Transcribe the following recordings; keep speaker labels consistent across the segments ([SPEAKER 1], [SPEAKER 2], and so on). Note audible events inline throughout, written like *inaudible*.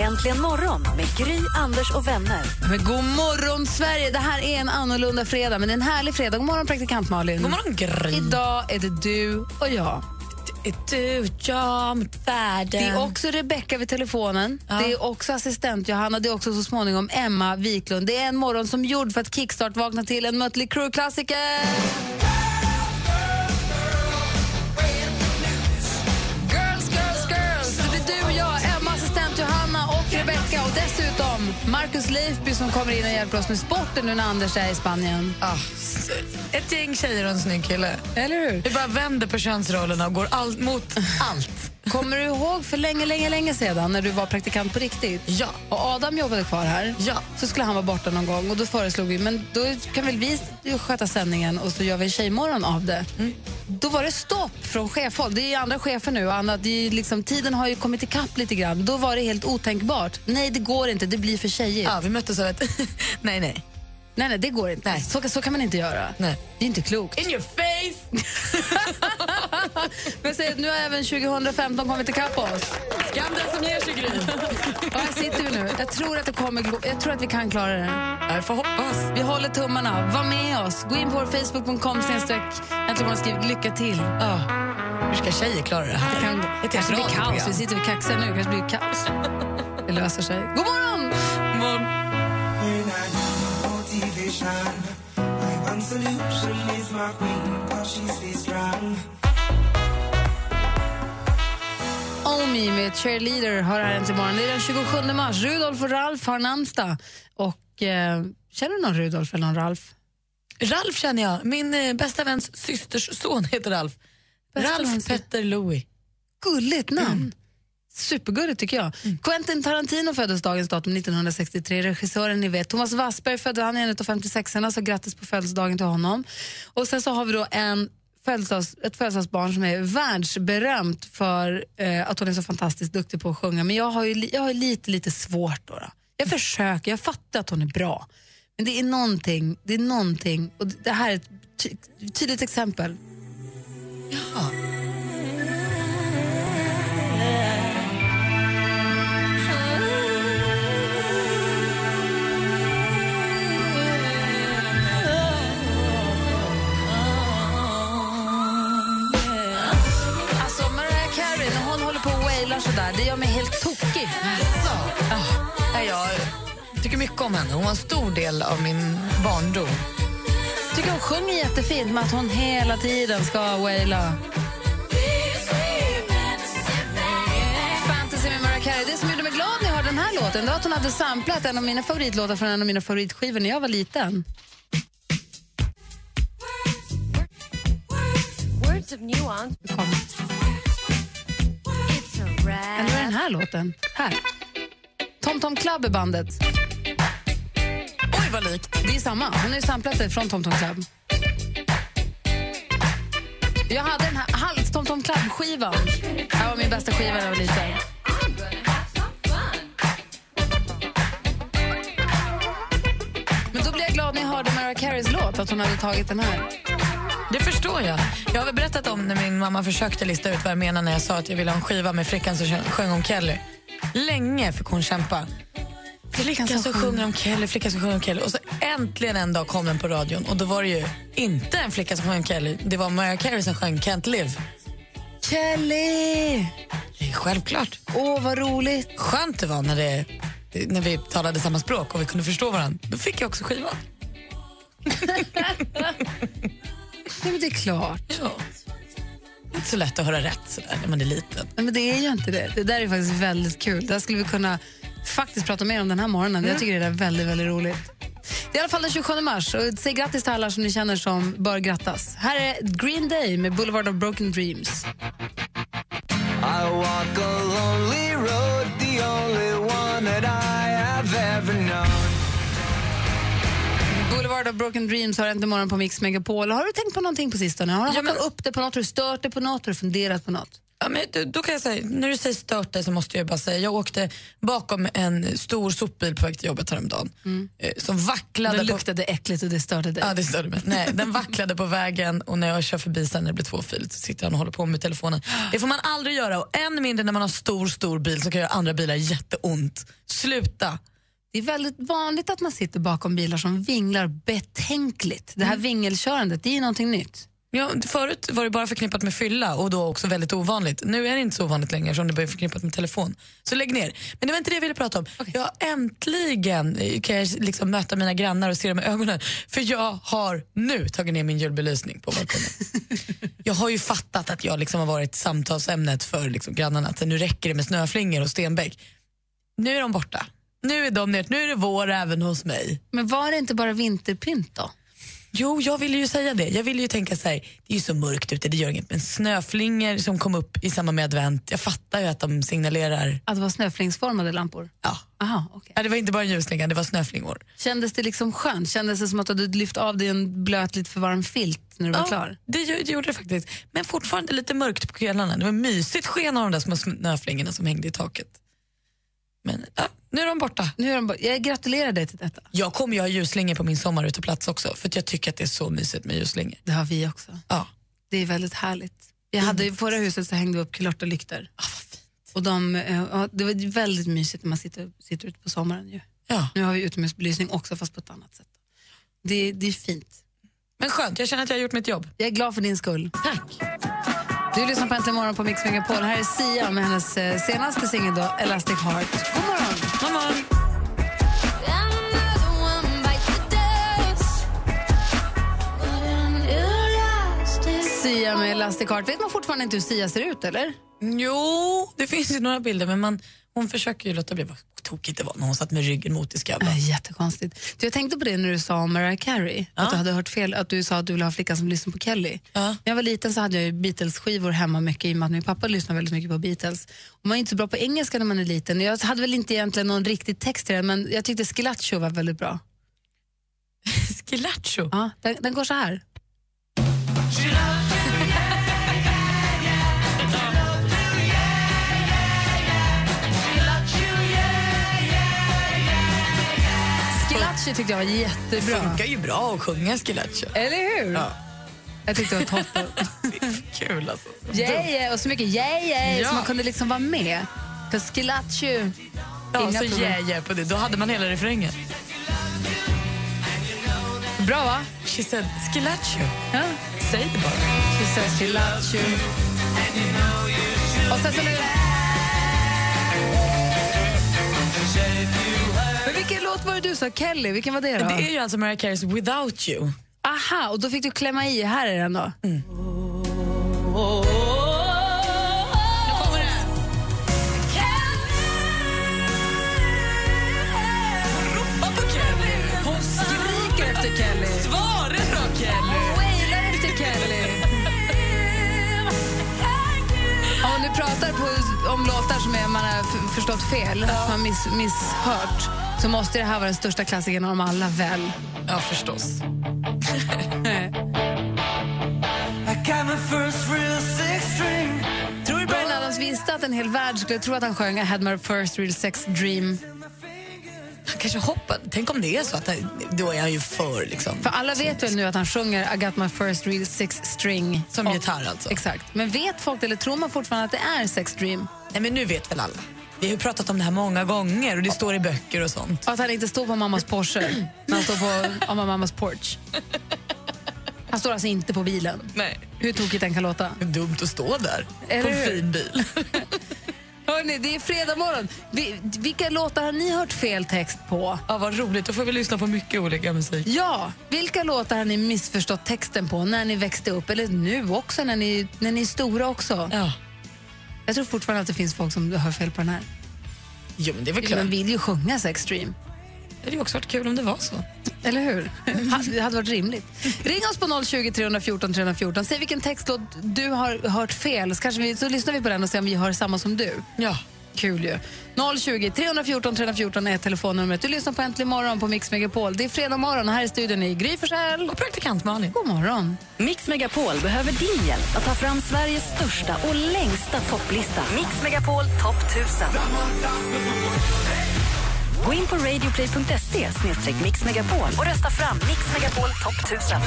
[SPEAKER 1] Äntligen morgon med Gry, Anders och vänner.
[SPEAKER 2] Men god morgon, Sverige! Det här är en annorlunda fredag, men det är en härlig fredag. God morgon, praktikant Malin. God morgon, Gry. Idag är det du och jag.
[SPEAKER 3] Du, jag mot världen.
[SPEAKER 2] Det är också Rebecka vid telefonen. Det är också assistent Johanna. Det är också så småningom Emma Wiklund. Det är en morgon som gjord för att kickstart vakna till en Mötley Crüe-klassiker. Girls, girls, girls. Det blir du och jag, Emma, assistent Johanna och Rebecka och dessutom Marcus Leifby som kommer in och hjälper oss med sporten nu när Anders är i Spanien.
[SPEAKER 3] Ah, s- ett gäng tjejer och en snygg kille.
[SPEAKER 2] Eller hur?
[SPEAKER 3] Vi bara vänder på könsrollerna och går allt mot allt.
[SPEAKER 2] Kommer du ihåg för länge, länge, länge sedan när du var praktikant på riktigt?
[SPEAKER 3] Ja.
[SPEAKER 2] Och Adam jobbade kvar här.
[SPEAKER 3] Ja.
[SPEAKER 2] Så skulle han vara borta någon gång och då föreslog vi, men då kan väl vi sköta sändningen och så gör vi tjejmorgon av det.
[SPEAKER 3] Mm.
[SPEAKER 2] Då var det stopp från chefhåll. Det är ju andra chefer nu och annat. Det är ju liksom, tiden har ju kommit ikapp lite grann. Då var det helt otänkbart. Nej, det går inte. Det blir för tjejigt.
[SPEAKER 3] Ja, vi möttes av ett *laughs* nej, nej.
[SPEAKER 2] Nej, nej, det går inte.
[SPEAKER 3] Nej.
[SPEAKER 2] Så, så kan man inte göra.
[SPEAKER 3] Nej.
[SPEAKER 2] Det är inte klokt.
[SPEAKER 3] In your face!
[SPEAKER 2] *laughs* Men säg att nu har även 2015 kommit ikapp oss.
[SPEAKER 3] Skam den som ger sig, Gry.
[SPEAKER 2] *laughs* Och här sitter vi nu. Jag tror att, det kommer, gå- jag tror att vi kan klara det.
[SPEAKER 3] Jag får hoppas.
[SPEAKER 2] Vi håller tummarna. Var med oss. Gå in på vår Facebook.com snedstreck. Äntligen morgon skriv lycka till.
[SPEAKER 3] Ah, hur ska tjejer klara det
[SPEAKER 2] Det
[SPEAKER 3] här?
[SPEAKER 2] kan, det
[SPEAKER 3] Ett
[SPEAKER 2] kanske blir
[SPEAKER 3] radioprogram.
[SPEAKER 2] kaos. Vi sitter och kaxar nu. Det kanske blir kaos. Det löser sig. God morgon!
[SPEAKER 3] Morgon.
[SPEAKER 2] Oh Me med Cheerleader har här äntligen morgon. Det är den 27 mars. Rudolf och Ralf har namnsdag. Och, eh, känner du någon Rudolf eller någon Ralf?
[SPEAKER 3] Ralf känner jag. Min eh, bästa väns systers son heter Ralf.
[SPEAKER 2] Bästa
[SPEAKER 3] Ralf
[SPEAKER 2] väns-
[SPEAKER 3] Petter Louis.
[SPEAKER 2] Gulligt namn. Supergulligt tycker jag. Quentin Tarantino föddes dagens datum 1963. Regissören ni vet. Thomas Wassberg födde, han är en av 56 erna så grattis på födelsedagen till honom. Och sen så har vi då en födelsedags, ett födelsedagsbarn som är världsberömt för eh, att hon är så fantastiskt duktig på att sjunga. Men jag har ju, li- jag har ju lite, lite svårt då. då. Jag försöker, jag fattar att hon är bra. Men det är någonting, det är någonting. Och det här är ett ty- tydligt exempel. Alltså Mariah Carey, när hon håller på och wailar sådär, det gör mig helt tokig.
[SPEAKER 3] Nej, Jag tycker mycket om henne. Hon var en stor del av min barndom.
[SPEAKER 2] Tycker hon sjunger jättefint med att hon hela tiden ska waila. Fantasy med Mariah Carey. Det som gjorde mig glad när jag hörde den här låten det var att hon hade samplat en av mina favoritlåtar från en av mina favoritskivor när jag var liten.
[SPEAKER 4] Words of nuance.
[SPEAKER 2] Nu kom-
[SPEAKER 4] It's a rap.
[SPEAKER 2] Eller var det den här låten? Här. Tom Tom Club är bandet.
[SPEAKER 3] Oj, vad likt.
[SPEAKER 2] Det är samma. Hon har ju samplat det från Tom Tom Club. Jag hade den här Hals Tom Tom Club-skivan. Det här var min bästa skiva när jag var liten.
[SPEAKER 4] I'm gonna have some fun.
[SPEAKER 2] Men då blev jag glad när jag hörde Mariah Careys låt, att hon hade tagit den här.
[SPEAKER 3] Det förstår jag. Jag har väl berättat om när min mamma försökte lista ut vad jag menade när jag sa att jag ville ha en skiva med flickan som sjöng om Kelly. Länge fick hon kämpa. Flickan som, sjunger om Kelly, flickan som sjunger om Kelly. Och så äntligen en dag kom den på radion och då var det ju inte en flicka som sjöng om Kelly. Det var Mariah Carey som sjöng Can't Live.
[SPEAKER 2] Kelly!
[SPEAKER 3] Det är självklart.
[SPEAKER 2] Åh, vad roligt.
[SPEAKER 3] Skönt det var när, det, när vi talade samma språk och vi kunde förstå varandra. Då fick jag också skivan.
[SPEAKER 2] Nej, men det är klart.
[SPEAKER 3] Ja. Inte så lätt att höra rätt sådär när man är liten.
[SPEAKER 2] Nej, men det är ju inte det. Det där är faktiskt väldigt kul. Där skulle vi kunna faktiskt prata mer om den här morgonen. Jag tycker det där är väldigt, väldigt roligt. Det är i alla fall den 27 mars. Och säg grattis till alla som ni känner som bör grattas. Här är Green Day med Boulevard of Broken Dreams.
[SPEAKER 5] I walk a lonely road, the only one that I have ever known.
[SPEAKER 2] Boulevard of Broken Dreams har äntligen morgon på Mix Megapol. Har du tänkt på någonting på sistone? Har du
[SPEAKER 3] Ja, men-
[SPEAKER 2] hakat upp dig på något? Har du stört dig på något? Har du funderat på något?
[SPEAKER 3] Ja, men då, då kan jag säga, när du säger stört dig så måste jag bara säga, jag åkte bakom en stor sopbil på väg till jobbet häromdagen. eh, Som vacklade.
[SPEAKER 2] Det
[SPEAKER 3] på-
[SPEAKER 2] luktade äckligt och det störde dig.
[SPEAKER 3] Ja, det störde mig. Nej, den vacklade på vägen och när jag kör förbi sen när det blir tvåfiligt så sitter han och håller på med telefonen. Det får man aldrig göra och än mindre när man har stor, stor bil så kan göra andra bilar jätteont. Sluta!
[SPEAKER 2] Det är väldigt vanligt att man sitter bakom bilar som vinglar betänkligt. Det här vingelkörandet, det är ju någonting nytt.
[SPEAKER 3] Ja, förut var det bara förknippat med fylla och då också väldigt ovanligt. Nu är det inte så ovanligt längre som det blir förknippat med telefon. Så lägg ner. Men det var inte det jag ville prata om. Jag äntligen eh, kan jag liksom möta mina grannar och se dem i ögonen. För jag har nu tagit ner min julbelysning på balkongen. jag har ju fattat att jag liksom har varit samtalsämnet för liksom grannarna. Att nu räcker det med snöflingor och stenbäck. Nu är de borta. Nu är de ner. Nu är det vår även hos mig.
[SPEAKER 2] Men var det inte bara vinterpynt då?
[SPEAKER 3] Jo, jag ville ju säga det. Jag ville ju tänka så här, det är ju så mörkt ute, det gör inget. Men snöflingor som kom upp i samband med advent, jag fattar ju att de signalerar.
[SPEAKER 2] Att det var snöflingsformade lampor?
[SPEAKER 3] Ja.
[SPEAKER 2] Aha, okay.
[SPEAKER 3] Nej, det var inte bara en ljusslinga, det var snöflingor.
[SPEAKER 2] Kändes det liksom skönt? Kändes det som att du hade lyft av dig en blöt, lite för varm filt när du var klar?
[SPEAKER 3] det, gö- det gjorde det faktiskt. Men fortfarande lite mörkt på kvällarna. Det var mysigt sken av de där små snöflingorna som hängde i taket. Men ja, nu är de borta.
[SPEAKER 2] Nu är de bara, jag gratulerar dig till detta.
[SPEAKER 3] Jag kommer ju ha ljusslingor på min sommaruteplats också, för att jag tycker att det är så mysigt med ljusslingor.
[SPEAKER 2] Det har vi också.
[SPEAKER 3] Ja.
[SPEAKER 2] Det är väldigt härligt. Jag hade i förra huset så hängde vi upp kulörtelyktor. Ah, Och de, eh, ja, det var ju väldigt mysigt när man sitter, sitter ute på sommaren ju.
[SPEAKER 3] ja.
[SPEAKER 2] Nu har vi utomhusbelysning också fast på ett annat sätt. Det, det är fint.
[SPEAKER 3] Men skönt, jag känner att jag har gjort mitt jobb.
[SPEAKER 2] Jag är glad för din skull.
[SPEAKER 3] Tack.
[SPEAKER 2] Du lyssnar på Äntligen morgon på Mix Megapol. Här är Sia med hennes eh, senaste singel då, Elastic Heart. God morgon!
[SPEAKER 3] Mamma.
[SPEAKER 2] Sia med Elastic Heart. Vet man fortfarande inte hur Sia ser ut eller?
[SPEAKER 3] Jo, det finns ju några bilder, men man, hon försöker ju låta bli. Vad tokigt det var när hon satt med ryggen mot i skabben.
[SPEAKER 2] Äh, jättekonstigt. Du, jag tänkte på det när du sa om Mariah Carey, att du hade hört fel, att du sa att du ville ha flickan som lyssnar på Kelly.
[SPEAKER 3] Ja.
[SPEAKER 2] När jag var liten så hade jag ju Beatles-skivor hemma mycket i och med att min pappa lyssnade väldigt mycket på Beatles. Och man är inte så bra på engelska när man är liten. Jag hade väl inte egentligen någon riktig text till den, men jag tyckte Schillacho var väldigt bra.
[SPEAKER 3] Schillacho.
[SPEAKER 2] Ja, den, den går så här. Schillacho tyckte jag var
[SPEAKER 3] Det
[SPEAKER 2] jättebra.
[SPEAKER 3] funkar ju bra att sjunga Schillacho.
[SPEAKER 2] Eller hur?
[SPEAKER 3] Ja.
[SPEAKER 2] Jag tyckte det var
[SPEAKER 3] *laughs*
[SPEAKER 2] toppen.
[SPEAKER 3] Det är Kul alltså.
[SPEAKER 2] yeah, yeah, och så mycket yeah, yeah,
[SPEAKER 3] Ja.
[SPEAKER 2] så man kunde liksom vara med. För Schillacho...
[SPEAKER 3] Ja,
[SPEAKER 2] Inga
[SPEAKER 3] så
[SPEAKER 2] problem.
[SPEAKER 3] yeah, yeah på det. Då hade man hela refrängen.
[SPEAKER 2] Bra, va?
[SPEAKER 3] She said Schillacho.
[SPEAKER 2] Ja.
[SPEAKER 3] Säg det bara.
[SPEAKER 2] She says she loves you. Och sen så nu... Men vilken låt var det du sa? Kelly, vilken var det då?
[SPEAKER 3] Det är ju alltså Mariah Careys Without You.
[SPEAKER 2] Aha, och då fick du klämma i. Här är den då. Hon skriker efter Kelly.
[SPEAKER 3] Svara då Kelly!
[SPEAKER 2] Wailar efter Kelly. Ja, om du pratar på, om låtar som är, man har f- förstått fel, man har miss, misshört, så måste det här vara den största klassikern av dem alla väl?
[SPEAKER 3] Ja, förstås.
[SPEAKER 2] Tror du Bryan Adams visste att en hel värld skulle tro att han sjöng I had my first real sex dream?
[SPEAKER 3] Han kanske hoppade. Tänk om det är så att han, då är han ju för liksom.
[SPEAKER 2] För alla vet väl nu att han sjunger I got my first real sex string.
[SPEAKER 3] Som
[SPEAKER 2] Och-
[SPEAKER 3] gitarr alltså.
[SPEAKER 2] Exakt. Men vet folk det, eller tror man fortfarande att det är sex dream?
[SPEAKER 3] Nej, men nu vet väl alla. Vi har ju pratat om det här många gånger och det står i böcker och sånt.
[SPEAKER 2] Och att han inte står på mammas Porsche, men han står på ja, men mammas porch. Han står alltså inte på bilen.
[SPEAKER 3] Nej.
[SPEAKER 2] Hur tokigt den kan låta.
[SPEAKER 3] Det är dumt att stå där
[SPEAKER 2] Eller
[SPEAKER 3] på en
[SPEAKER 2] hur? *laughs*
[SPEAKER 3] fin bil.
[SPEAKER 2] Hörrni, det är fredag morgon. Vi, vilka låtar har ni hört fel text på?
[SPEAKER 3] ja, vad roligt, då får vi lyssna på mycket olika musik.
[SPEAKER 2] Ja, vilka låtar har ni missförstått texten på när ni växte upp? Eller nu också, när ni, när ni är stora också.
[SPEAKER 3] Ja,
[SPEAKER 2] Jag tror fortfarande att det finns folk som hör fel på den här.
[SPEAKER 3] jo, men det är väl klart.
[SPEAKER 2] Man vill ju sjunga så extreme.
[SPEAKER 3] Det hade ju också varit kul om det var så.
[SPEAKER 2] Eller
[SPEAKER 3] *laughs*
[SPEAKER 2] hur? Ha- Det hade varit rimligt. Ring oss på 020 314 314. Säg vilken textlåt du har hört fel, så, kanske vi, så lyssnar vi på den och ser om vi hör samma som du.
[SPEAKER 3] Ja.
[SPEAKER 2] Kul ju. 020 314 314 är telefonnumret. Du lyssnar på Äntligen morgon på Mix Megapol. Det är fredag morgon och här i studion är Gry Forssell.
[SPEAKER 3] Och praktikant Malin.
[SPEAKER 2] God morgon.
[SPEAKER 1] Mix Megapol behöver din hjälp att ta fram Sveriges största och längsta topplista. Mix Megapol topp 1000. Gå in på radioplay.se mixmegapol och rösta fram Mix Megapol topp 1000.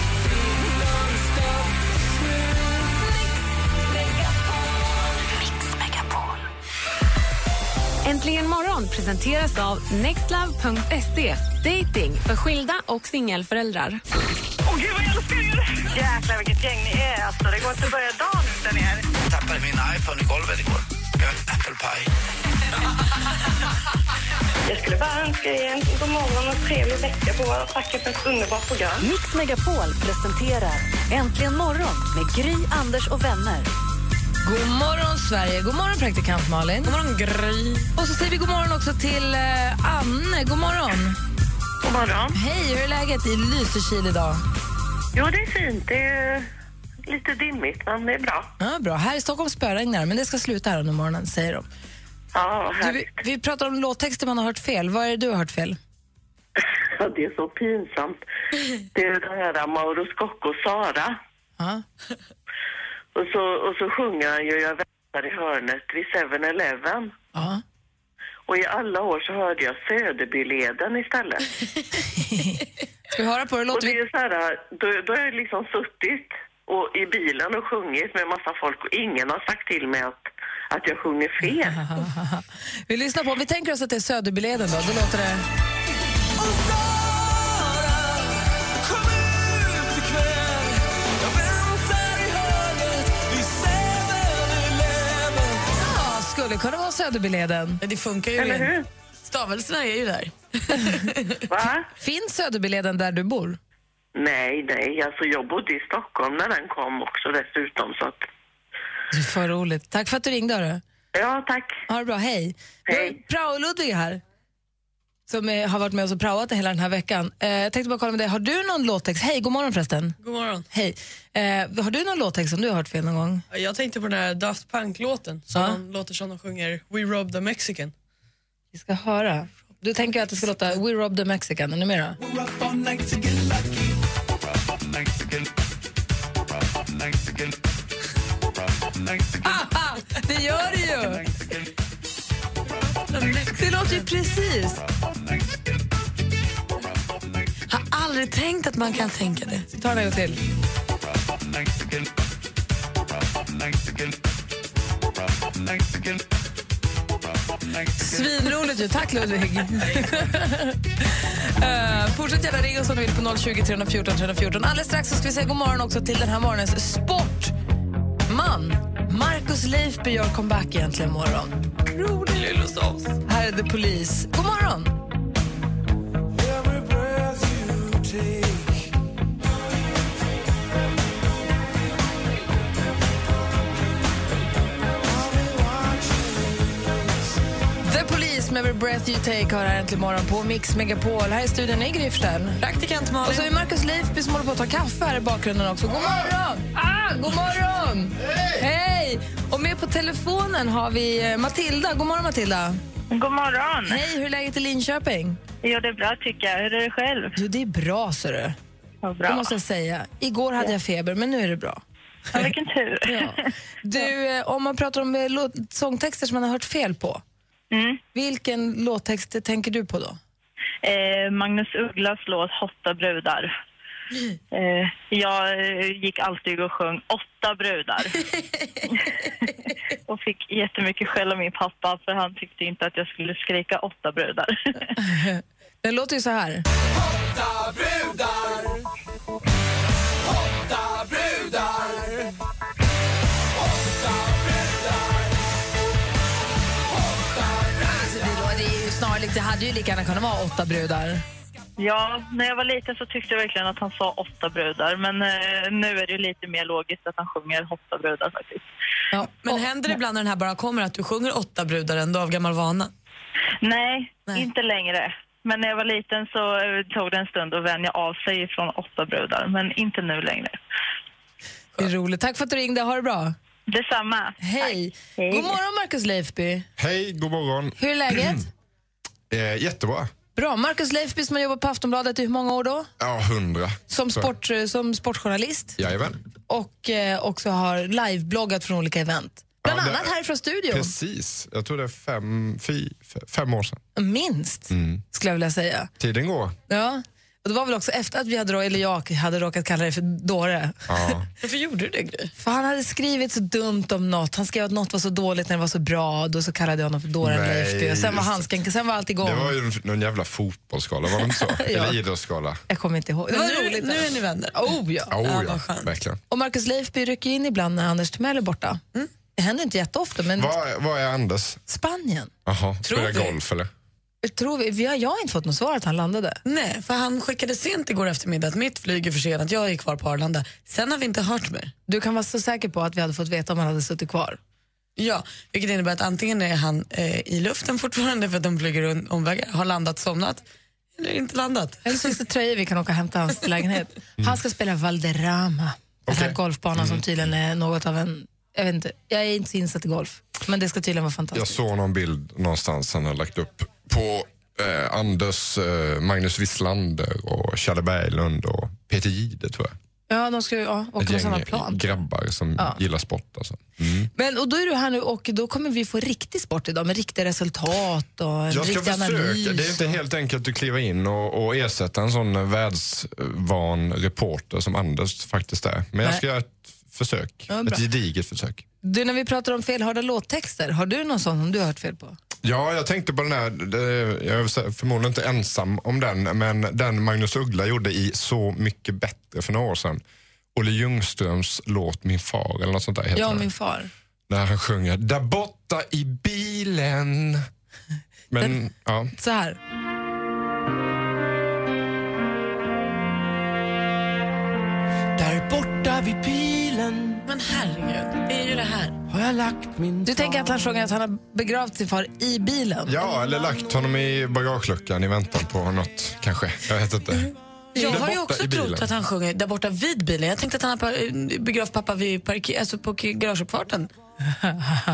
[SPEAKER 1] Mix Megapol.
[SPEAKER 6] Äntligen morgon presenteras av nextlove.se. Dating för skilda och singelföräldrar.
[SPEAKER 7] Åh gud vad jag älskar er! Jäklar vilket gäng ni är alltså. Det går inte att börja dagen utan er.
[SPEAKER 5] Jag tappade min iPhone i golvet igår. Jag har en apple pie.
[SPEAKER 7] Jag skulle bara önska er en god morgon och trevlig vecka på och tacka för ett underbart program.
[SPEAKER 1] Mix Megapol presenterar Äntligen morgon med Gry, Anders och vänner.
[SPEAKER 2] God morgon, Sverige. God morgon, praktikant Malin. God morgon, Gry. Och så säger vi god morgon också till eh, Anne. God morgon.
[SPEAKER 7] God morgon.
[SPEAKER 2] Hej, hur är läget i Lysekil idag?
[SPEAKER 7] Jo, det är fint. Det är lite dimmigt, men det är bra.
[SPEAKER 2] Ja, bra. Här i Stockholm spöregnar men det ska sluta här under morgonen, säger de.
[SPEAKER 7] Ja,
[SPEAKER 2] Du,
[SPEAKER 7] här.
[SPEAKER 2] vi, vi pratar om låttexter man har hört fel. Vad är det du har hört fel?
[SPEAKER 7] Ja, det är så pinsamt. Det är det här Mauro Scocco och Sara.
[SPEAKER 2] Ja.
[SPEAKER 7] Och så, och så sjunger han ju Jag väntar i hörnet vid 7-Eleven.
[SPEAKER 2] ja.
[SPEAKER 7] Och i alla år så hörde jag Söderbyleden istället.
[SPEAKER 2] Ska vi höra på hur det
[SPEAKER 7] Och
[SPEAKER 2] låter?
[SPEAKER 7] det är ju så här, då, då har jag liksom suttit och i bilen och sjungit med massa folk och ingen har sagt till mig att, att jag sjunger
[SPEAKER 8] *laughs*
[SPEAKER 7] fel.
[SPEAKER 2] Vi, vi lyssnar på. Vi tänker oss att det är Söderbyleden då. Då låter det... Ja, skulle kunna vara Söderbyleden.
[SPEAKER 3] Det funkar ju.
[SPEAKER 7] Eller hur?
[SPEAKER 3] Stavelserna är ju där.
[SPEAKER 7] Va?
[SPEAKER 2] *laughs* Finns Söderbyleden där du bor?
[SPEAKER 7] Nej, nej, alltså jag bodde i Stockholm när den kom också dessutom så att,
[SPEAKER 2] Det är för roligt. Tack för att du ringde. Hörru.
[SPEAKER 7] ja tack.
[SPEAKER 2] Ha det bra, hej.
[SPEAKER 7] Hej.
[SPEAKER 2] Nu är Prao-Ludvig här, som är, har varit med oss och praoat hela den här veckan. Eh, jag tänkte bara kolla med dig, har du någon låttext? Hej, god morgon förresten.
[SPEAKER 8] God morgon.
[SPEAKER 2] Hej. Eh, har du någon låttext som du har hört fel någon gång?
[SPEAKER 8] Jag tänkte på den här Daft Punk-låten som
[SPEAKER 2] Ja.
[SPEAKER 8] de låter som de sjunger We robbed the Mexican.
[SPEAKER 2] Vi ska höra. Du tänker att det ska låta We robbed the Mexican, ännu mera? Haha, *laughs* det gör det ju! Det låter ju precis.
[SPEAKER 3] Har aldrig tänkt att man kan tänka det.
[SPEAKER 2] Ta den en gång till. Svinroligt ju. Tack, Ludvig. *laughs* Eh, fortsätt gärna ringa oss om du vill på 020 314 314. Alldeles strax så ska vi säga god morgon också till den här morgonens sportman. Marcus Leifby gör comeback egentligen imorgon. Rolig lillesås. Här är The Police. God morgon! The Police med Every Breath You Take har här äntligen morgon på Mix Megapol. Här i studion är Gry Forssell.
[SPEAKER 3] Praktikant Malin.
[SPEAKER 2] Och så är Markus Leifby som håller på att ta kaffe här i bakgrunden också. God morgon! Ah, god morgon! Hej! Och med på telefonen har vi eh, Matilda. God morgon Matilda!
[SPEAKER 8] God morgon.
[SPEAKER 2] Hej, hur är läget i Linköping?
[SPEAKER 8] Jo, det är bra tycker jag. Hur är det själv?
[SPEAKER 2] Du, det är bra ser du.
[SPEAKER 8] Ja,
[SPEAKER 2] Det måste jag säga. Igår hade jag feber, men nu är det bra.
[SPEAKER 8] Ja, vilken tur.
[SPEAKER 2] *laughs* Ja. Du, eh, om man pratar om eh, låt- sångtexter som man har hört fel på,
[SPEAKER 8] Mm.
[SPEAKER 2] vilken låttext tänker du på då?
[SPEAKER 8] Eh, Magnus Ugglas låt Åtta brudar. Eh, jag eh, gick alltid och sjöng åtta brudar. och fick jättemycket skäll av min pappa för han tyckte inte att jag skulle skrika åtta brudar.
[SPEAKER 2] Den låter ju så här. Alltså, det lå- det är ju snarlikt. Det hade ju lika gärna kunnat vara åtta brudar.
[SPEAKER 8] ja, när jag var liten så tyckte jag verkligen att han sa åtta brudar men eh, nu är det ju lite mer logiskt att han sjunger åtta brudar faktiskt.
[SPEAKER 2] Ja.
[SPEAKER 3] Men händer det ibland när den här bara kommer att du sjunger åtta brudar ändå av gammal vana?
[SPEAKER 8] Nej,
[SPEAKER 3] Nej.
[SPEAKER 8] inte längre. Men när jag var liten så eh, tog det en stund att vänja av sig från åtta brudar, men inte nu längre.
[SPEAKER 2] Det är roligt. Tack för att du ringde. Ha det bra.
[SPEAKER 9] Detsamma.
[SPEAKER 2] Hej. God morgon, Markus Leifby.
[SPEAKER 10] Hej, god morgon.
[SPEAKER 2] Hur är läget?
[SPEAKER 10] Eh, jättebra.
[SPEAKER 2] Bra. Markus Leifby som har jobbat på Aftonbladet i hur många år då?
[SPEAKER 10] Ja, hundra.
[SPEAKER 2] Som, sport, eh, som sportjournalist
[SPEAKER 10] Så, jajamän.
[SPEAKER 2] och eh, också har livebloggat från olika event. Bland
[SPEAKER 10] Ja, det-
[SPEAKER 2] annat härifrån studion.
[SPEAKER 10] Precis. Jag tror det är fem, fi, f- fem år sedan.
[SPEAKER 2] Minst,
[SPEAKER 10] Mm.
[SPEAKER 2] skulle jag vilja säga.
[SPEAKER 10] Tiden går.
[SPEAKER 2] Ja. Och det var väl också efter att vi hade, eller jag hade råkat kalla dig för dåre. *laughs*
[SPEAKER 10] Ja.
[SPEAKER 2] Varför gjorde du det, Gry? För han hade skrivit så dumt om något. Han skrev att något var så dåligt när det var så bra. Då så kallade jag honom för dåren
[SPEAKER 10] Nej,
[SPEAKER 2] Leifby. Och sen var
[SPEAKER 10] just
[SPEAKER 2] handsken, sen var allt igång.
[SPEAKER 10] Det var ju en- någon jävla fotbollsskala, var det inte så?
[SPEAKER 2] Ja.
[SPEAKER 10] Eller idrottsskala.
[SPEAKER 2] Jag kommer inte ihåg. Det var roligt. Nu är ni vänner. Oh, ja.
[SPEAKER 10] Oh, ja, verkligen.
[SPEAKER 2] Och Marcus Leifby rycker in ibland när Anders Timell är borta.
[SPEAKER 3] Mm.
[SPEAKER 2] Det händer inte jätteofta, men
[SPEAKER 10] Var, var är Anders?
[SPEAKER 2] Spanien.
[SPEAKER 10] Jaha,
[SPEAKER 3] Tror
[SPEAKER 10] spelar
[SPEAKER 3] vi.
[SPEAKER 10] golf eller?
[SPEAKER 2] Tror vi, vi har, jag har inte fått något svar att han landade.
[SPEAKER 3] Nej, för han skickade sent igår eftermiddag att mitt flyg är försenat, jag är kvar på Arlanda. Sen har vi inte hört mer.
[SPEAKER 2] Du kan vara så säker på att vi hade fått veta om han hade suttit kvar.
[SPEAKER 3] Ja, vilket innebär att antingen är han eh, i luften fortfarande för att de flyger un- omvägar, har landat, somnat eller inte landat.
[SPEAKER 2] Eller så finns det tröjor vi kan åka och hämta hans
[SPEAKER 3] *laughs*
[SPEAKER 2] lägenhet.
[SPEAKER 3] Mm.
[SPEAKER 2] Han ska spela Valderrama, den här golfbanan som tydligen är något av en... Jag vet inte, jag är inte så insatt i golf, men det ska tydligen vara
[SPEAKER 10] Jag
[SPEAKER 2] fantastiskt.
[SPEAKER 10] såg någon bild någonstans han har lagt upp på eh, Anders, eh, Magnus Wisslander och Challe Berglund och Peter Jihde tror jag.
[SPEAKER 2] Ja, de ska ju ja, åka med sådana plan.
[SPEAKER 10] grabbar som
[SPEAKER 2] Ja.
[SPEAKER 10] gillar sport. Alltså.
[SPEAKER 2] Men, och då är du här nu och då kommer vi få riktig sport idag med riktiga resultat och en
[SPEAKER 10] Jag ska
[SPEAKER 2] riktig
[SPEAKER 10] försöka.
[SPEAKER 2] analys.
[SPEAKER 10] Det är inte helt enkelt att kliva in och, och ersätta en sån världsvan reporter som Anders faktiskt är. Men jag
[SPEAKER 2] Nej.
[SPEAKER 10] ska göra ett försök.
[SPEAKER 2] Ja, bra.
[SPEAKER 10] ett gediget försök.
[SPEAKER 2] Du, när vi pratar om felhörda låttexter, har du någon sån som du har hört fel på?
[SPEAKER 10] Ja, jag tänkte på den här, det- jag är förmodligen inte ensam om den, men den Magnus Uggla gjorde i Så mycket bättre för några år sedan. Olle Ljungströms låt Min far eller något sånt där heter
[SPEAKER 2] Jag och
[SPEAKER 10] den.
[SPEAKER 2] min far.
[SPEAKER 10] När han sjunger Där borta i bilen. Men, ja.
[SPEAKER 2] Så här.
[SPEAKER 11] Där borta vid pilen
[SPEAKER 3] Men herregud, det är ju det här.
[SPEAKER 11] har jag lagt min...
[SPEAKER 2] Du tänker att han sjunger att han har begravt sin far i bilen?
[SPEAKER 10] Ja, eller lagt honom i bagageluckan i väntan på något, kanske. Jag vet inte.
[SPEAKER 3] Jag
[SPEAKER 10] Där
[SPEAKER 3] har ju
[SPEAKER 10] borta
[SPEAKER 3] också
[SPEAKER 10] i bilen.
[SPEAKER 3] trott att han sjunger där borta vid bilen. Jag tänkte att han har par- begravt pappa vid parker- alltså på k- garageuppfarten.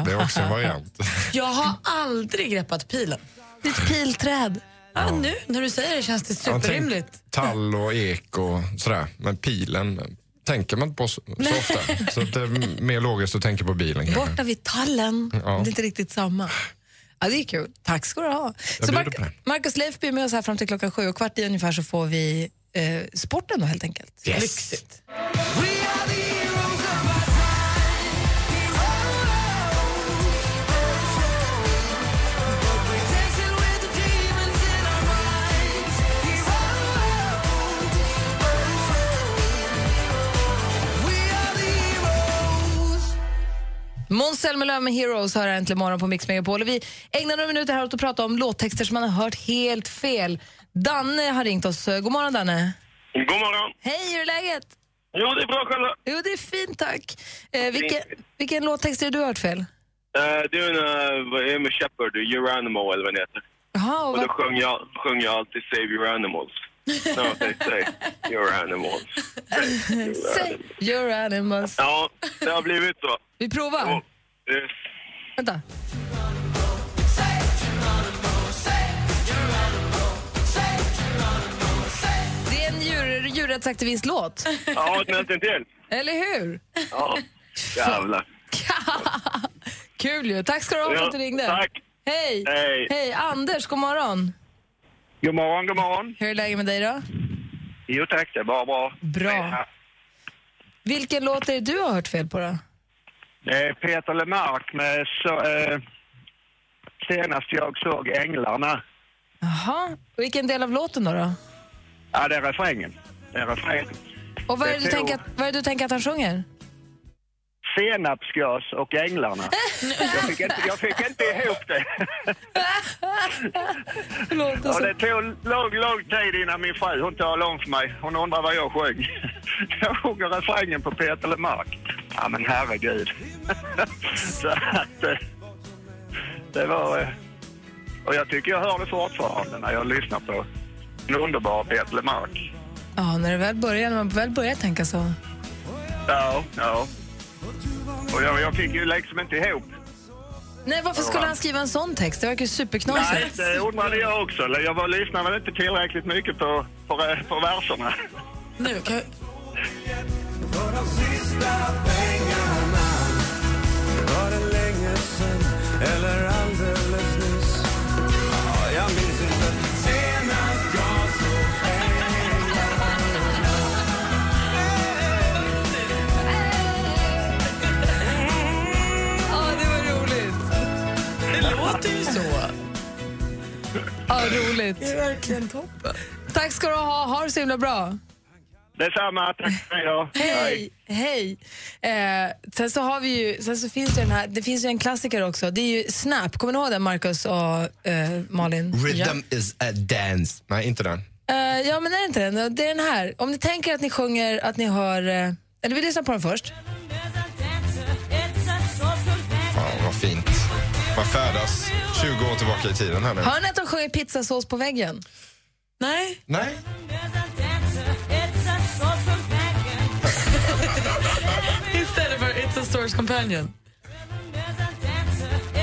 [SPEAKER 10] Det är också en variant.
[SPEAKER 3] Jag har aldrig greppat pilen.
[SPEAKER 2] Ditt pilträd.
[SPEAKER 3] Ja, nu när du säger det känns det
[SPEAKER 10] Man tänker
[SPEAKER 3] superrimligt.
[SPEAKER 10] Tall och ek och sådär. Men pilen tänker man inte på så, så
[SPEAKER 2] *laughs*
[SPEAKER 10] ofta. Så att det är mer logiskt att tänka på bilen. kanske.
[SPEAKER 2] Borta vid tallen.
[SPEAKER 10] Ja.
[SPEAKER 2] Det är inte riktigt samma. Ja, det är kul. Tack ska du ha.
[SPEAKER 10] Jag
[SPEAKER 2] Så
[SPEAKER 10] bjuder
[SPEAKER 2] Mark-
[SPEAKER 10] på det.
[SPEAKER 2] Marcus Leifby är med oss här fram till klockan sju och kvart i ungefär så får vi eh, sporten då helt enkelt.
[SPEAKER 3] Lyxigt.
[SPEAKER 2] Måns Zelmerlöw med Heroes hör här äntligen morgon på Mix Megapol. Och vi ägnar några minuter här åt att prata om låttexter som man har hört helt fel. Danne har ringt oss. Eh, God morgon Danne.
[SPEAKER 12] God morgon.
[SPEAKER 2] Hej, hur är läget?
[SPEAKER 12] Jo, det är bra själva.
[SPEAKER 2] Jo, det är fint tack. Eh, vilken, vilken låttext är det du har hört fel?
[SPEAKER 12] Eh, det är en eh, vad är det med Shepard, Geronimo eller vad den heter.
[SPEAKER 2] Jaha, och
[SPEAKER 12] Och då
[SPEAKER 2] vad,
[SPEAKER 12] sjöng jag, sjöng jag alltid Save Your Animals. No, they say Your Animals.
[SPEAKER 2] Say your animals.
[SPEAKER 12] Ja, det har blivit så.
[SPEAKER 2] Vi provar.
[SPEAKER 12] Och, eh,
[SPEAKER 2] Vänta. Det är en djur, djurrättsaktivistlåt.
[SPEAKER 12] ja, nästan till.
[SPEAKER 2] Eller hur? *laughs*
[SPEAKER 12] Ja, jävlar.
[SPEAKER 2] Kul ju. Tack ska du ha för att du
[SPEAKER 12] Ja,
[SPEAKER 2] ringde.
[SPEAKER 12] tack.
[SPEAKER 2] Hej.
[SPEAKER 12] Hej.
[SPEAKER 2] Anders, god morgon.
[SPEAKER 12] God morgon, god morgon.
[SPEAKER 2] Hur är läget med dig då?
[SPEAKER 12] Jo tack, det är bara bra.
[SPEAKER 2] Bra. Vilken låt är det du har hört fel på då?
[SPEAKER 7] Det är Eh, Peter Lemark med så, eh, Senast jag såg Änglarna.
[SPEAKER 2] Jaha. Och Vilken del av låten då? då?
[SPEAKER 7] Ja, det är refrängen. Det är refrängen.
[SPEAKER 2] Och vad är, det du
[SPEAKER 7] Det är
[SPEAKER 2] tänker att, vad är det du tänker att han sjunger?
[SPEAKER 7] Senapsgas och Änglarna. Jag fick inte, jag fick inte ihop det. Och det tog lång, lång tid innan min fru, hon tar långt för mig. Hon undrar vad jag sjöng. *laughs* Jag sjunger refrängen på Peter Lemark. Ja, men herregud. *laughs* Så att... eh, Det var... eh, Och jag tycker jag hör det fortfarande när jag lyssnar på en underbar Peter Lemark.
[SPEAKER 2] Ja, när det väl börjar, när man väl börjar tänka så.
[SPEAKER 7] Ja, ja.
[SPEAKER 13] Och jag, jag fick ju liksom inte ihop.
[SPEAKER 2] Nej, varför skulle han skriva en sån text? Det verkar ju
[SPEAKER 13] Nej,
[SPEAKER 2] superknasigt.
[SPEAKER 13] det undrade jag också. Eller Jag var, lyssnade väl inte tillräckligt mycket på, på, på verserna.
[SPEAKER 3] Nu kan jag...
[SPEAKER 14] För de sista pengarna Var det länge sen eller alldeles nyss? Ja, jag minns inte senast jag såg pengarna
[SPEAKER 2] Ja, det var roligt.
[SPEAKER 3] Det låter ju så.
[SPEAKER 2] Ja, roligt.
[SPEAKER 3] Det är verkligen toppen.
[SPEAKER 2] Tack ska du ha. Ha det så himla bra.
[SPEAKER 13] Detsamma, tack för idag.
[SPEAKER 2] Hej! Hej! Eh, sen så har vi ju, sen så finns det den här, det finns ju en klassiker också. Det är ju Snap. Kommer ni ihåg den, Marcus och eh, Malin?
[SPEAKER 10] Rhythm is a dance. Nej, inte den.
[SPEAKER 2] Eh, ja, men är det inte den? Det är den här. Om ni tänker att ni sjunger, att ni hör... Eh, eller vi lyssnar på den först.
[SPEAKER 10] Fan, vad fint. Man färdas 20 år tillbaka i tiden här nu.
[SPEAKER 2] Hör ni att de sjunger pizzasås på väggen? Nej.
[SPEAKER 10] Nej.
[SPEAKER 3] Istället för It's a Stores Companion.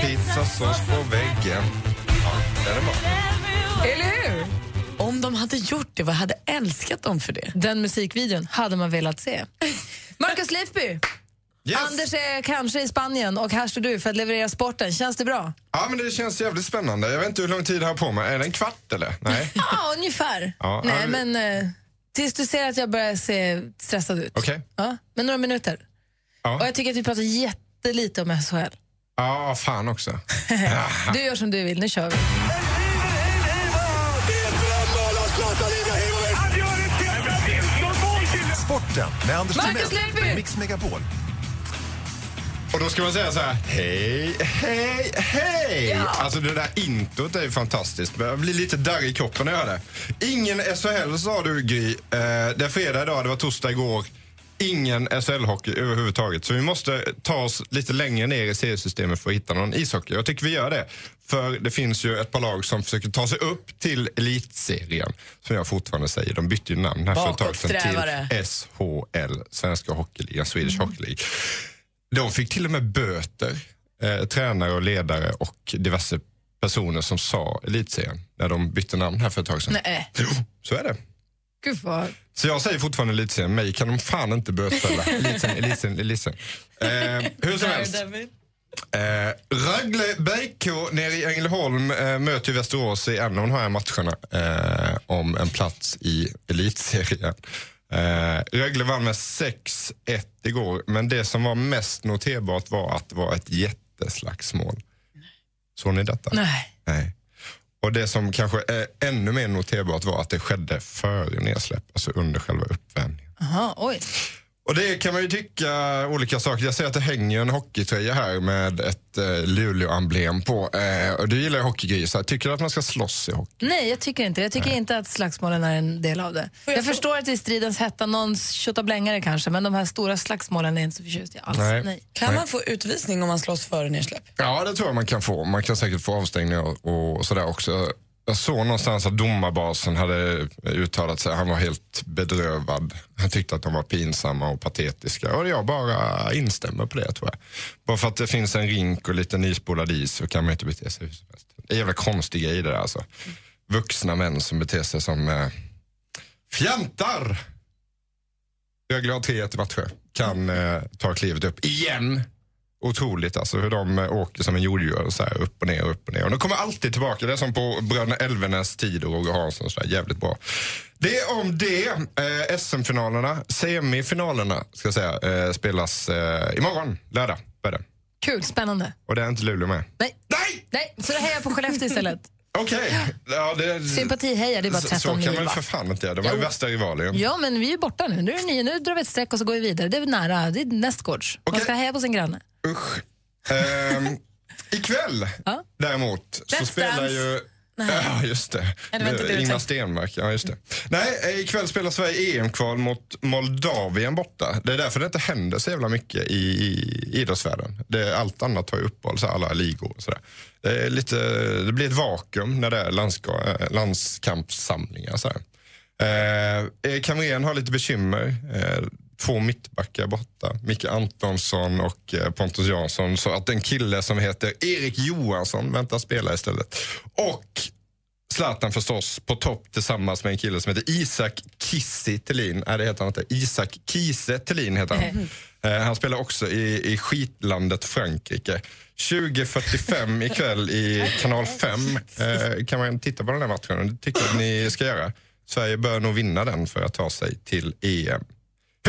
[SPEAKER 10] Pizzasås på väggen. Ja, den är bra.
[SPEAKER 2] Eller hur?
[SPEAKER 3] Om de hade gjort det, vad hade älskat dem för det?
[SPEAKER 2] Den musikvideon hade man velat se. Marcus Leifby! Anders är kanske i Spanien och här står du för att leverera sporten. Känns det bra?
[SPEAKER 10] Ja, men det känns jävligt spännande. Jag vet inte hur lång tid jag har på mig. Är det en kvart eller? Nej.
[SPEAKER 2] *laughs* Ja, ungefär.
[SPEAKER 10] Ja,
[SPEAKER 2] Nej,
[SPEAKER 10] ja, vi-
[SPEAKER 2] men eh, tills du ser att jag börjar se stressad ut.
[SPEAKER 10] Okej.
[SPEAKER 2] Ja, men några minuter.
[SPEAKER 10] Ja.
[SPEAKER 2] Och jag tycker att vi pratar jättelite om SHL.
[SPEAKER 10] Ja, fan också.
[SPEAKER 2] Du gör som du vill, nu kör vi.
[SPEAKER 15] Sporten med Anders
[SPEAKER 2] Marcus
[SPEAKER 15] Timell,
[SPEAKER 2] Leifby!
[SPEAKER 15] Mix Megapol.
[SPEAKER 10] Och då ska man säga så här, hej, hej, hej! Alltså det där introt är ju fantastiskt. Jag blir lite darrig i kroppen när jag hör det. Ingen SHL sa du Gry. Eh, det är fredag idag, det var torsdag igår. Ingen SHL-hockey överhuvudtaget. Så vi måste ta oss lite längre ner i seriesystemet för att hitta någon ishockey. Jag tycker vi gör det. För det finns ju ett par lag som försöker ta sig upp till elitserien. Som jag fortfarande säger, de bytte ju namn här för ett tag sedan
[SPEAKER 3] Bakåtsträvare.
[SPEAKER 10] till SHL, Svenska Hockeyligan, Swedish Hockey League. De fick till och med böter, eh, tränare och ledare och diverse personer som sa elitserien när de bytte namn här för ett tag sedan.
[SPEAKER 2] Nej,
[SPEAKER 10] Jo, så är det.
[SPEAKER 2] gud vad...
[SPEAKER 10] Så jag säger fortfarande elitserien, mig kan de fan inte bötfälla. Elitserien, elitserien, elitserien. Eh, hur som helst. Eh, Rögle BK nere i Ängelholm eh, möter ju Västerås i en av de här matcherna eh, om en plats i elitserien. Eh, Rögle vann med 6-1 igår, men det som var mest noterbart var att det var ett jätteslagsmål. Såg ni detta?
[SPEAKER 2] Nej.
[SPEAKER 10] Nej. Och det som kanske är ännu mer noterbart var att det skedde före nedsläpp, alltså under själva uppvärmningen.
[SPEAKER 2] Aha, oj.
[SPEAKER 10] Och det kan man ju tycka olika saker. Jag ser att det hänger en hockeytröja här med ett eh, Luleå-emblem på. Eh, och du gillar ju hockeygrisar. Tycker du att man ska slåss i hockey?
[SPEAKER 2] Nej, jag tycker inte det. Jag tycker inte att slagsmålen är en del av det. Jag, förstår att det är stridens hetta, någons tjottablängare kanske, men de här stora slagsmålen är inte så förtjust i alls.
[SPEAKER 10] Nej.
[SPEAKER 2] Nej.
[SPEAKER 3] Kan
[SPEAKER 10] Nej.
[SPEAKER 3] man få utvisning om man slåss före nedsläpp?
[SPEAKER 10] Ja, det tror jag man kan få. Man kan säkert få avstängning och, och sådär också. Jag såg någonstans att domarbasen hade uttalat sig. Han var helt bedrövad. Han tyckte att de var pinsamma och patetiska. Och jag bara instämmer på det tror jag. Bara för att det finns en rink och lite nyspolad is så kan man ju inte bete sig hur som helst. Det är jävla konstig grej det där alltså. Vuxna män som beter sig som eh, fjantar. Rögle har 3-1 i Växjö. E Kan eh, ta klivet upp igen. Otroligt alltså hur de eh, åker som en jordgubbe så här upp och ner och upp och ner. Och de kommer alltid tillbaka. Det är som på Bröderna Elvenes tid och Roger Hansson. Så där. Jävligt bra. Det är om det. Eh, SM-finalerna, semifinalerna ska jag säga, eh, spelas eh, imorgon, lördag. Börjar. det.
[SPEAKER 2] Kul, spännande.
[SPEAKER 10] Och det är inte Luleå med.
[SPEAKER 2] Nej.
[SPEAKER 10] Nej!
[SPEAKER 2] Nej, så då hejar jag på Skellefteå *laughs* istället.
[SPEAKER 10] Okej. Ja, det-
[SPEAKER 2] Sympati hejar, det är bara
[SPEAKER 10] så-
[SPEAKER 2] 13
[SPEAKER 10] Så kan
[SPEAKER 2] mil,
[SPEAKER 10] man ju
[SPEAKER 2] va?
[SPEAKER 10] för fan inte göra. De var ju värsta rivaler. ju.
[SPEAKER 2] Ja, men vi är borta nu. Nu, är det ni, nu drar vi ett streck och så går vi vidare. Det är nära, det är nästgårds. Man ska heja på sin granne.
[SPEAKER 10] Usch. Ehm, ikväll däremot så
[SPEAKER 2] Let's
[SPEAKER 10] spelar
[SPEAKER 2] Dance.
[SPEAKER 10] ju...
[SPEAKER 2] Nej.
[SPEAKER 10] Ja, just det.
[SPEAKER 2] Nej, det var inte det du
[SPEAKER 10] Ingmar
[SPEAKER 2] tänkte.
[SPEAKER 10] Stenmark. Ja, just det. Nej, eh, ikväll spelar Sverige EM-kval mot Moldavien borta. Det är därför det inte händer så jävla mycket i, i idrottsvärlden. Det, allt annat har ju uppehåll, så här, alla ligor och sådär. Det, är lite, det blir ett vakuum när det är landska, eh, landskampssamlingar. Så här. Eh, Kamrén har lite bekymmer. Eh, två mittbackar borta. Micke Antonsson och eh, Pontus Jansson. Så att en kille som heter Erik Johansson väntas spela istället. Och Zlatan förstås på topp tillsammans med en kille som heter Isak Kissi Thelin. Nej, det heter han inte. Isak Kiese Thelin heter han. Eh, Han spelar också i, i skitlandet Frankrike. 20.45 ikväll i kanal 5 eh, kan man titta på den här matchen. Det tycker jag att ni ska göra. Sverige bör nog vinna den för att ta sig till EM.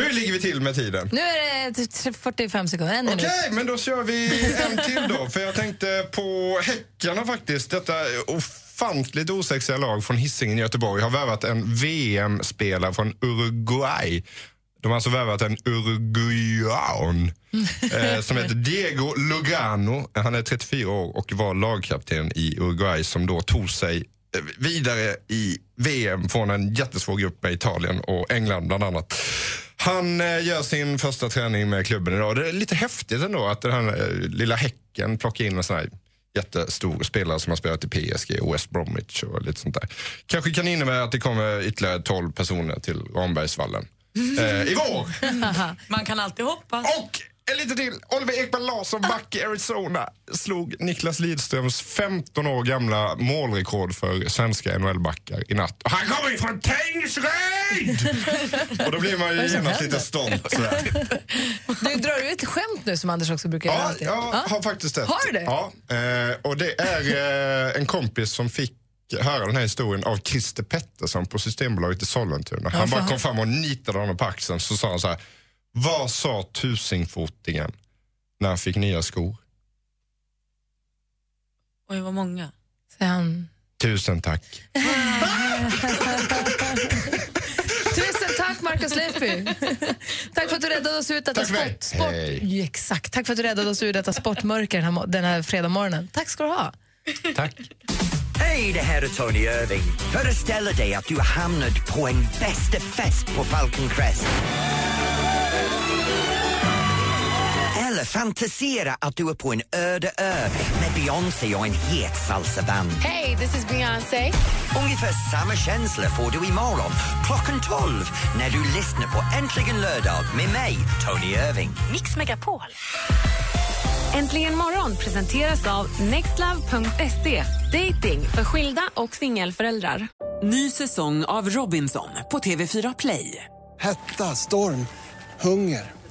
[SPEAKER 10] Hur ligger vi till med tiden?
[SPEAKER 2] Nu är det t- 45 sekunder, en
[SPEAKER 10] Okej,
[SPEAKER 2] minut.
[SPEAKER 10] men då kör vi en till då. För jag tänkte på Häckarna faktiskt. Detta ofantligt osexiga lag från Hisingen i Göteborg har värvat en VM-spelare från Uruguay. De har alltså värvat en uruguayan eh, som heter Diego Lugano. Han är 34 år och var lagkapten i Uruguay som då tog sig eh, vidare i VM från en jättesvår grupp med Italien och England bland annat. Han eh, gör sin första träning med klubben idag. Det är lite häftigt ändå att den här eh, lilla Häcken plockar in en sån här jättestor spelare som har spelat i PSG och West Bromwich och lite sånt där. Kanske kan innebära att det kommer ytterligare 12 personer till Rambergsvallen eh, i vår.
[SPEAKER 3] Man kan alltid hoppas.
[SPEAKER 10] Och en liten till. Oliver Ekman Larsson, back i Arizona, slog Niklas Lidströms 15 år gamla målrekord för svenska NHL-backar i natt. Och han kommer ju från Tingsryd! och då blir man
[SPEAKER 2] Vad
[SPEAKER 10] ju
[SPEAKER 2] är det som
[SPEAKER 10] genast lite
[SPEAKER 2] händer?
[SPEAKER 10] stolt. Sådär.
[SPEAKER 2] Du drar ut ett skämt nu som Anders också brukar göra.
[SPEAKER 10] Ja,
[SPEAKER 2] alltid.
[SPEAKER 10] jag har faktiskt det.
[SPEAKER 2] Har du det?
[SPEAKER 10] Ja, eh, och det är eh, en kompis som fick höra den här historien av Christer Pettersson på Systembolaget i Sollentuna.
[SPEAKER 2] Ja,
[SPEAKER 10] Han bara
[SPEAKER 2] fan.
[SPEAKER 10] kom fram och nitade honom på axeln så sa han så här. Vad sa tusingfotingen när han fick nya skor?
[SPEAKER 3] Oj, vad många.
[SPEAKER 2] Sen.
[SPEAKER 10] Tusen tack.
[SPEAKER 2] Tusen tack, Markus Leifby. *laughs* tack för att du räddade oss ur detta sport. sport. Ja, Exakt. Tack för att du räddade oss ur detta sportmörker den här, mo- den här fredagsmorgonen. Tack ska du ha.
[SPEAKER 1] Hej, det här är Tony Irving. Föreställ dig att du har hamnat på en bästa fest på Falcon Crest. Eller fantisera att du är på en öde ö med Beyoncé och en het salsaband.
[SPEAKER 16] Hey, this is Beyonce.
[SPEAKER 1] Ungefär samma känsla får du imorgon klockan 12 när du lyssnar på Äntligen lördag med mig, Tony Irving.
[SPEAKER 17] Mix Megapol. Äntligen morgon presenteras av nextlove.se. Dating för skilda och singelföräldrar.
[SPEAKER 18] Ny säsong av Robinson på TV4 Play.
[SPEAKER 19] Hetta, storm, hunger.